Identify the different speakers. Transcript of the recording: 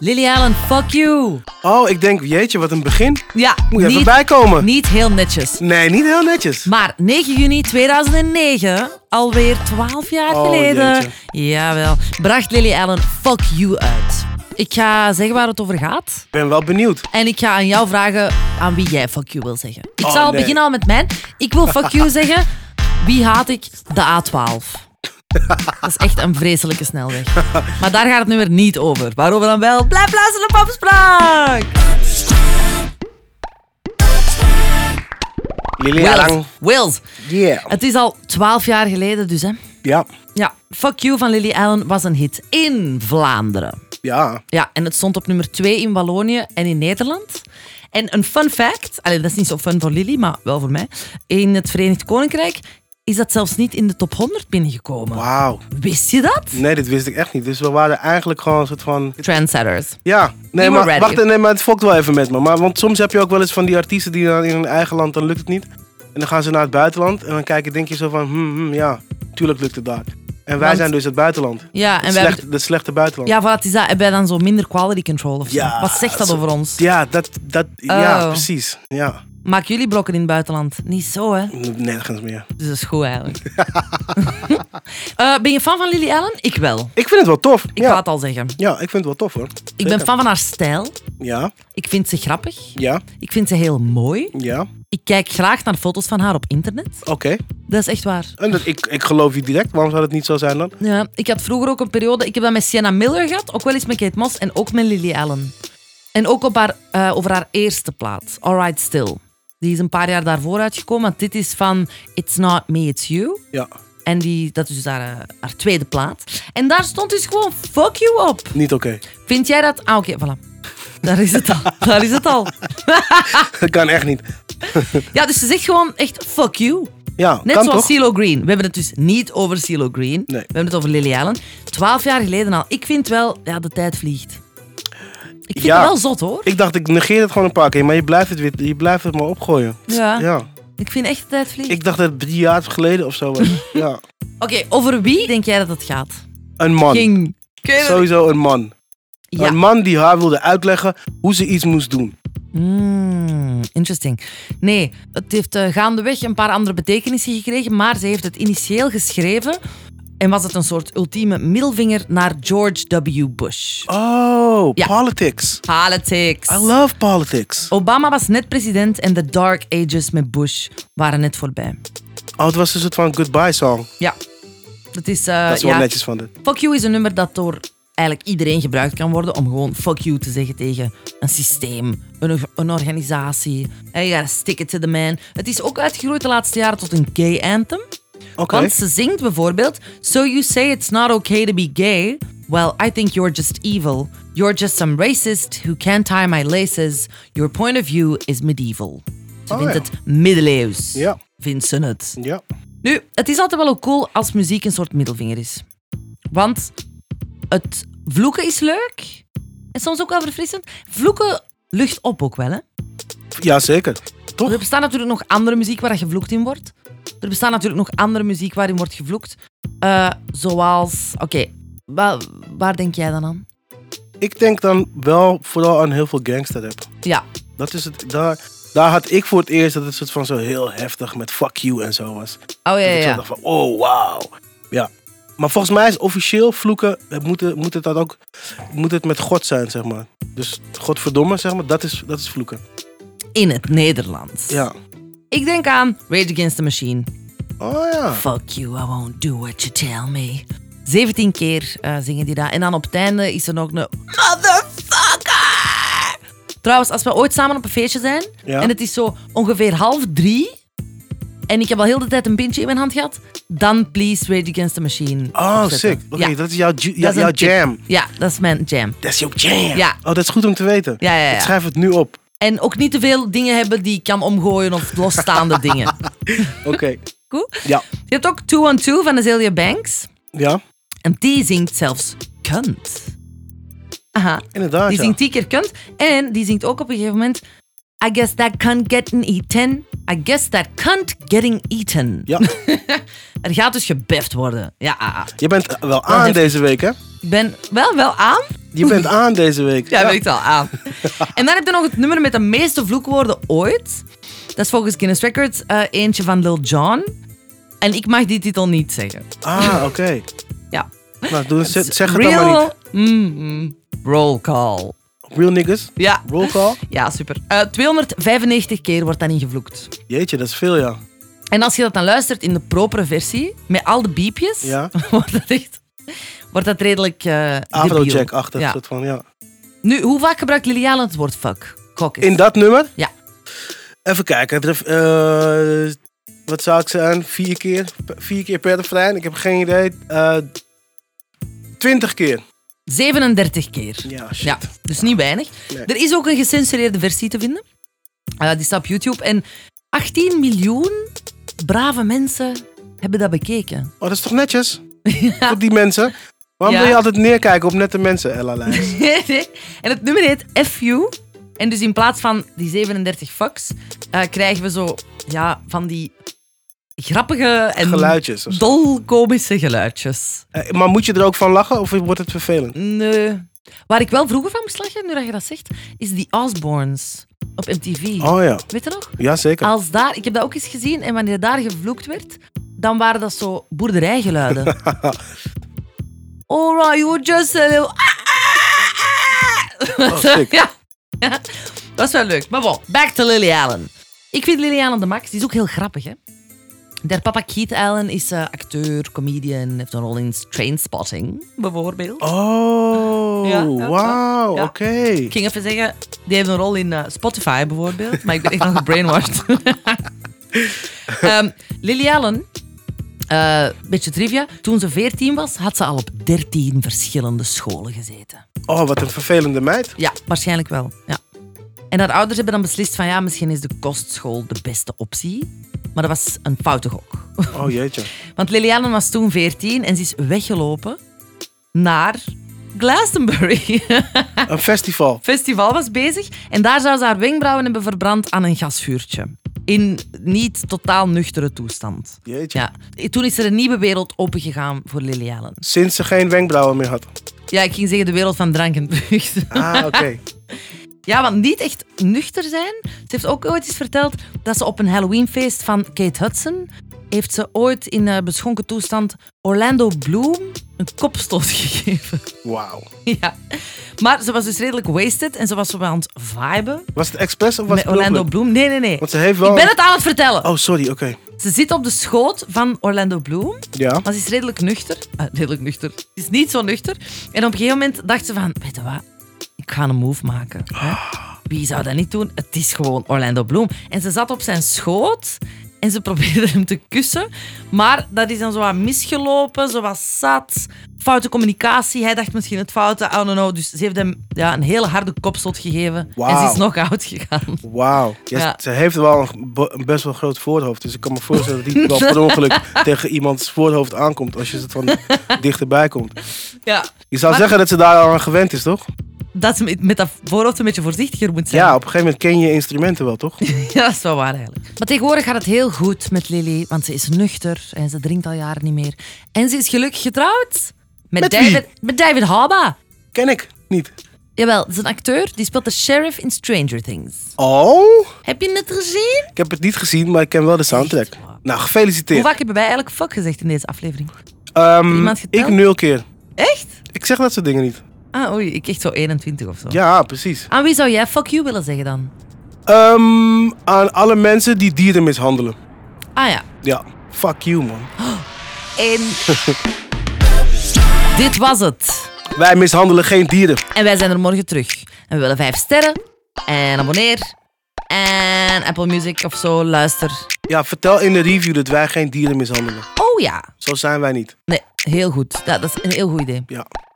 Speaker 1: Lily Allen, fuck you.
Speaker 2: Oh, ik denk, jeetje, wat een begin.
Speaker 1: Ja,
Speaker 2: Moet je even
Speaker 1: niet,
Speaker 2: bijkomen.
Speaker 1: niet heel netjes.
Speaker 2: Nee, niet heel netjes.
Speaker 1: Maar 9 juni 2009, alweer 12 jaar
Speaker 2: Oh,
Speaker 1: geleden,
Speaker 2: jeetje.
Speaker 1: jawel, bracht Lily Allen Fuck You uit. Ik ga zeggen waar het over gaat.
Speaker 2: Ik ben wel benieuwd.
Speaker 1: En ik ga aan jou vragen aan wie jij fuck you wil zeggen. Ik
Speaker 2: Oh,
Speaker 1: zal
Speaker 2: nee.
Speaker 1: beginnen al met mijn. Ik wil fuck you zeggen. Wie haat ik? De A12. Dat is echt een vreselijke snelweg. Maar daar gaat het nu weer niet over. Waarover dan wel? Blijf luisteren op Afspraak!
Speaker 2: Lily
Speaker 1: Wils.
Speaker 2: Alang.
Speaker 1: Wils.
Speaker 2: Yeah.
Speaker 1: Het is al 12 jaar geleden dus, hè.
Speaker 2: Ja,
Speaker 1: Ja, Fuck You van Lily Allen was een hit in Vlaanderen.
Speaker 2: ja.
Speaker 1: Ja, en het stond op nummer 2 in Wallonië en in Nederland. En een fun fact, allee, dat is niet zo fun voor Lily, maar wel voor mij. In het Verenigd Koninkrijk is dat zelfs niet in de top 100 binnengekomen.
Speaker 2: Wauw.
Speaker 1: Wist je dat?
Speaker 2: Nee, dit wist ik echt niet. Dus we waren eigenlijk gewoon een soort van...
Speaker 1: Trendsetters.
Speaker 2: Ja, nee,
Speaker 1: were
Speaker 2: maar,
Speaker 1: ready.
Speaker 2: wacht, nee, maar het fokt wel even met me. Maar, want soms heb je ook wel eens van die artiesten die dan in hun eigen land, dan lukt het niet. En dan gaan ze naar het buitenland en dan kijken, denk je zo van, hmm, hmm, ja, tuurlijk lukt het daar. En wij
Speaker 1: Want-
Speaker 2: zijn dus het buitenland.
Speaker 1: Ja, en
Speaker 2: Het
Speaker 1: wij hebben...
Speaker 2: slechte, het slechte buitenland.
Speaker 1: Ja, voilà, het is dat. Hebben wij dan zo minder quality control of zo?
Speaker 2: Ja,
Speaker 1: Wat zegt dat
Speaker 2: zo-
Speaker 1: over ons?
Speaker 2: Ja, dat, dat, ja
Speaker 1: Oh.
Speaker 2: precies. Ja,
Speaker 1: Maak jullie blokken in het buitenland? Niet zo, hè?
Speaker 2: nergens meer.
Speaker 1: Dus dat is goed, eigenlijk. Eh, ben je fan van Lily Allen? Ik wel.
Speaker 2: Ik vind het wel tof.
Speaker 1: Ik
Speaker 2: ja.
Speaker 1: ga het al zeggen.
Speaker 2: ja, ik vind het wel tof hoor.
Speaker 1: Ik ben fan van haar stijl.
Speaker 2: Ja,
Speaker 1: Ik vind ze grappig.
Speaker 2: ja,
Speaker 1: Ik vind ze heel mooi.
Speaker 2: ja.
Speaker 1: Ik kijk graag naar foto's van haar op internet.
Speaker 2: Oké.
Speaker 1: Dat is echt waar.
Speaker 2: En dat, ik, ik geloof je direct. Waarom zou dat niet zo zijn dan?
Speaker 1: Ja, ik had vroeger ook een periode... Ik heb dat met Sienna Miller gehad, ook wel eens met Kate Moss en ook met Lily Allen. En ook op haar, eh, over haar eerste plaat, Alright Still. Die is een paar jaar daarvoor uitgekomen. want Dit is van It's Not Me, It's You.
Speaker 2: Ja,
Speaker 1: En die, dat is dus haar, eh, haar tweede plaat. En daar stond dus gewoon fuck you op.
Speaker 2: niet oké.
Speaker 1: Vind jij dat... Ah, oké, voilà. Daar is het al. Daar is het al.
Speaker 2: Dat kan echt niet.
Speaker 1: Ja, dus ze zegt gewoon echt fuck you.
Speaker 2: Ja,
Speaker 1: Net
Speaker 2: kan
Speaker 1: zoals
Speaker 2: toch?
Speaker 1: CeeLo Green. We hebben het dus niet over CeeLo Green. We hebben het over Lily Allen. Twaalf jaar geleden al. Ik vind wel, ja, de tijd vliegt. Ik vind
Speaker 2: Ja.
Speaker 1: het wel zot hoor.
Speaker 2: Ik dacht, ik negeer het gewoon een paar keer, maar je blijft het, weer, je blijft het maar opgooien.
Speaker 1: Ja.
Speaker 2: ja.
Speaker 1: Ik vind echt de tijd vliegt.
Speaker 2: Ik dacht dat het drie jaar geleden of zo was. ja.
Speaker 1: Oké, over wie denk jij dat het gaat?
Speaker 2: Een man.
Speaker 1: King. Ik weet het-
Speaker 2: Sowieso een man.
Speaker 1: Ja.
Speaker 2: Een man die haar wilde uitleggen hoe ze iets moest doen.
Speaker 1: Mm, interesting. Nee, het heeft eh, gaandeweg een paar andere betekenissen gekregen, maar ze heeft het initieel geschreven en was het een soort ultieme middelvinger naar George W. Bush.
Speaker 2: Oh,
Speaker 1: Ja.
Speaker 2: politics.
Speaker 1: Politics.
Speaker 2: I love politics.
Speaker 1: Obama was net president en de Dark Ages met Bush waren net voorbij.
Speaker 2: Oh, het was een soort van goodbye song.
Speaker 1: Ja. Dat is, eh,
Speaker 2: Dat is wel
Speaker 1: ja.
Speaker 2: netjes van dit.
Speaker 1: Fuck you is een nummer dat door eigenlijk iedereen gebruikt kan worden om gewoon fuck you te zeggen tegen een systeem, een, een organisatie. Hey, you gotta stick it to the man. Het is ook uitgegroeid de laatste jaren tot een gay anthem.
Speaker 2: Oké.
Speaker 1: Want ze zingt bijvoorbeeld So you say it's not okay to be gay. Well, I think you're just evil. You're just some racist who can't tie my laces. Your point of view is medieval. Ze
Speaker 2: Oh,
Speaker 1: vindt
Speaker 2: ja.
Speaker 1: het middeleeuws.
Speaker 2: Ja.
Speaker 1: Vindt ze het.
Speaker 2: Ja.
Speaker 1: Nu, het is altijd wel ook cool als muziek een soort middelvinger is. Want het vloeken is leuk. En soms ook wel verfrissend. Vloeken lucht op ook wel, hè?
Speaker 2: ja, zeker. Toch?
Speaker 1: Er bestaat natuurlijk nog andere muziek waar je gevloekt in wordt. Er bestaat natuurlijk nog andere muziek waarin wordt gevloekt. Eh, zoals... Oké, wa- waar denk jij dan aan?
Speaker 2: Ik denk dan wel vooral aan heel veel gangster rap.
Speaker 1: Ja,
Speaker 2: Dat is het, daar, daar had ik voor het eerst dat het soort van zo heel heftig met fuck you en zo was.
Speaker 1: oh ja, ja,
Speaker 2: Dat ik zo
Speaker 1: ja.
Speaker 2: dacht van, oh wauw. Ja. Maar volgens mij is officieel vloeken, het moet, het- moet het dat ook, moet het met God zijn, zeg maar. Dus godverdomme, zeg maar, dat is, dat is vloeken.
Speaker 1: In het Nederlands.
Speaker 2: Ja.
Speaker 1: Ik denk aan Rage Against the Machine.
Speaker 2: Oh ja.
Speaker 1: Fuck you, I won't do what you tell me. 17 keer eh, zingen die dat. En dan op het einde is er nog een motherfucker. Trouwens, als we ooit samen op een feestje zijn
Speaker 2: Ja.
Speaker 1: en het is zo ongeveer half drie en ik heb al heel de tijd een pintje in mijn hand gehad, dan please Rage Against the Machine.
Speaker 2: Oh,
Speaker 1: opzetten.
Speaker 2: sick. Oké,
Speaker 1: ja,
Speaker 2: dat is jouw, ju-
Speaker 1: dat is
Speaker 2: jouw
Speaker 1: een tip.
Speaker 2: jam.
Speaker 1: Ja, dat is mijn jam.
Speaker 2: Dat is jouw jam.
Speaker 1: Ja.
Speaker 2: Oh, dat is goed om te weten.
Speaker 1: Ja, ja, ja.
Speaker 2: Ik schrijf het nu op.
Speaker 1: En ook niet te veel dingen hebben die ik kan omgooien of losstaande dingen.
Speaker 2: Oké.
Speaker 1: Goed.
Speaker 2: Ja.
Speaker 1: Je hebt ook 212 van Azalea Banks.
Speaker 2: Ja,
Speaker 1: En die zingt zelfs kunt. Aha.
Speaker 2: inderdaad.
Speaker 1: Die
Speaker 2: ja.
Speaker 1: zingt tien keer kunt. En die zingt ook op een gegeven moment... I guess that cunt getting eaten. I guess that cunt getting eaten.
Speaker 2: Ja.
Speaker 1: er gaat dus gebeft worden. Ja, ah, ah.
Speaker 2: Je bent wel aan
Speaker 1: heeft-
Speaker 2: deze week, hè?
Speaker 1: Ik ben wel, wel aan.
Speaker 2: Je bent aan deze week.
Speaker 1: Ja, weet ik al aan. en dan heb je nog het nummer met de meeste vloekwoorden ooit. Dat is volgens Guinness Records eh, eentje van Lil Jon. En ik mag die titel niet zeggen.
Speaker 2: Ah, oké.
Speaker 1: Ja.
Speaker 2: Nou, doe, zeg, zeg het
Speaker 1: Real
Speaker 2: dan maar niet.
Speaker 1: Mm, roll call.
Speaker 2: Real niggas.
Speaker 1: Ja.
Speaker 2: Roll call.
Speaker 1: Ja, super. Eh, 295 keer wordt dan ingevloekt.
Speaker 2: Jeetje, dat is veel, ja.
Speaker 1: En als je dat dan luistert in de propere versie, met al de biepjes,
Speaker 2: Ja.
Speaker 1: wordt dat echt... Wordt dat redelijk eh debiel.
Speaker 2: Afrojack-achtig.
Speaker 1: Ja.
Speaker 2: soort van, ja.
Speaker 1: Nu, hoe vaak gebruikt Lily Allen het woord fuck? Gok eens.
Speaker 2: In dat nummer?
Speaker 1: Ja.
Speaker 2: Even kijken. er- eh, wat zou ik zeggen? Vier keer? Vier keer per refrein? Ik heb geen idee. Eh, twintig keer.
Speaker 1: 37 keer.
Speaker 2: Ja, shit.
Speaker 1: Ja, dus niet weinig.
Speaker 2: Nee.
Speaker 1: Er is ook een gecensureerde versie te vinden. Eh, die staat op YouTube. En 18 miljoen brave mensen hebben dat bekeken.
Speaker 2: Oh, dat is toch netjes? Voor die mensen. Waarom
Speaker 1: Ja.
Speaker 2: wil je altijd neerkijken op nette mensen, Ella Lijs?
Speaker 1: en het nummer heet FU. En dus in plaats van die 37 fucks, eh, krijgen we zo ja, van die grappige en
Speaker 2: Geluidjes. of zo.
Speaker 1: dolkomische geluidjes.
Speaker 2: Eh, maar moet je er ook van lachen of wordt het vervelend?
Speaker 1: Nee. Waar ik wel vroeger van moest lachen, nu dat je dat zegt, is die Osborns op MTV.
Speaker 2: Oh ja.
Speaker 1: Weet je nog?
Speaker 2: Jazeker.
Speaker 1: Als daar, ik heb dat ook eens gezien en wanneer daar gevloekt werd, dan waren dat zo boerderijgeluiden. Alright, you were just a little. ah,
Speaker 2: Oh, sick.
Speaker 1: ja. ja, dat is wel leuk. Maar bon, back to Lily Allen. Ik vind Lily Allen de max, die is ook heel grappig, hè? Der papa Keith Allen is eh, acteur, comedian, heeft een rol in Trainspotting, bijvoorbeeld.
Speaker 2: Oh,
Speaker 1: Ja, ja,
Speaker 2: wauw.
Speaker 1: ja.
Speaker 2: Oké.
Speaker 1: Ik ging even zeggen, die heeft een rol in eh, Spotify bijvoorbeeld, maar ik ben echt nog gebrainwashed. Ehm Lily Allen, eh, beetje trivia, toen ze 14 was, had ze al op 13 verschillende scholen gezeten.
Speaker 2: Oh, wat een vervelende meid.
Speaker 1: Ja, waarschijnlijk wel. Ja. En haar ouders hebben dan beslist van ja, misschien is de kostschool de beste optie. Maar dat was een foute gok.
Speaker 2: Oh jeetje.
Speaker 1: Want Lily Allen was toen 14 en ze is weggelopen naar Glastonbury.
Speaker 2: Een festival.
Speaker 1: festival was bezig. En daar zou ze haar wenkbrauwen hebben verbrand aan een gasvuurtje. In niet totaal nuchtere toestand.
Speaker 2: Jeetje.
Speaker 1: Ja. Toen is er een nieuwe wereld opengegaan voor Lily Allen.
Speaker 2: Sinds ze geen wenkbrauwen meer had.
Speaker 1: Ja, ik ging zeggen de wereld van drank en drugs.
Speaker 2: Ah, oké.
Speaker 1: Ja, want niet echt nuchter zijn. Ze heeft ook ooit eens verteld dat ze op een Halloweenfeest van Kate Hudson... heeft ze ooit in eh, beschonken toestand Orlando Bloom een kopstoot gegeven.
Speaker 2: Wauw.
Speaker 1: ja. Maar ze was dus redelijk wasted en ze was zo aan het viben
Speaker 2: Was het expres of was
Speaker 1: met
Speaker 2: het
Speaker 1: Orlando
Speaker 2: per
Speaker 1: Bloom. Nee, nee, nee.
Speaker 2: ongeluk? Want ze heeft wel...
Speaker 1: Ik ben het aan het vertellen.
Speaker 2: Oh, sorry. Oké.
Speaker 1: Ze zit op de schoot van Orlando Bloom.
Speaker 2: Ja.
Speaker 1: Maar ze is redelijk nuchter. Ah, redelijk nuchter. Ze is niet zo nuchter. En op een gegeven moment dacht ze van... Weet je wat? Ik ga een move maken. Hè? Wie zou dat niet doen? Het is gewoon Orlando Bloom. En ze zat op zijn schoot... En ze probeerde hem te kussen. Maar dat is dan zo wat misgelopen, zo wat zat. Foute communicatie. Hij dacht misschien het foute, I don't know. Dus ze heeft hem ja, een hele harde kopstoot gegeven. En ze
Speaker 2: Wauw.
Speaker 1: is nog oud gegaan.
Speaker 2: Wauw. Ja,
Speaker 1: Ja.
Speaker 2: Ze heeft wel een, bo- een best wel groot voorhoofd. Dus ik kan me voorstellen dat die wel per ongeluk tegen iemands voorhoofd aankomt. Als je het van dichterbij komt.
Speaker 1: Ja.
Speaker 2: Je zou
Speaker 1: Maar-
Speaker 2: zeggen dat ze daar al aan gewend is, toch?
Speaker 1: dat ze met- met dat voorhoofd een beetje voorzichtiger moet zijn.
Speaker 2: Ja, op een gegeven moment ken je je instrumenten wel, toch?
Speaker 1: Ja, dat is wel waar eigenlijk. Maar tegenwoordig gaat het heel goed met Lily, want ze is nuchter en ze drinkt al jaren niet meer. En ze is gelukkig getrouwd met,
Speaker 2: Met wie?
Speaker 1: David, met David Haba.
Speaker 2: Ken ik niet.
Speaker 1: Jawel, dat is een acteur die speelt de sheriff in Stranger Things.
Speaker 2: Oh?
Speaker 1: Heb je het gezien?
Speaker 2: Ik heb het niet gezien, maar ik ken wel de soundtrack.
Speaker 1: Echt waar?
Speaker 2: Nou,
Speaker 1: Hoe
Speaker 2: gefeliciteerd.
Speaker 1: vaak hebben wij eigenlijk fuck gezegd in deze aflevering?
Speaker 2: Ehm,
Speaker 1: iemand geteld?
Speaker 2: ik nul keer.
Speaker 1: Echt?
Speaker 2: Ik zeg dat soort dingen niet.
Speaker 1: Ah, oei, ik echt zo 21 of zo.
Speaker 2: Ja, precies.
Speaker 1: Aan wie zou jij fuck you willen zeggen dan?
Speaker 2: Ehm, aan alle mensen die dieren mishandelen.
Speaker 1: Ah ja,
Speaker 2: Ja, fuck you man.
Speaker 1: en... Dit was het.
Speaker 2: Wij mishandelen geen dieren.
Speaker 1: En wij zijn er morgen terug. En we willen vijf sterren. En abonneer. En Apple Music of zo, luister.
Speaker 2: Ja, vertel in de review dat wij geen dieren mishandelen.
Speaker 1: Oh ja.
Speaker 2: Zo zijn wij niet.
Speaker 1: Nee, heel goed. Dat, dat is een heel goed idee.
Speaker 2: Ja.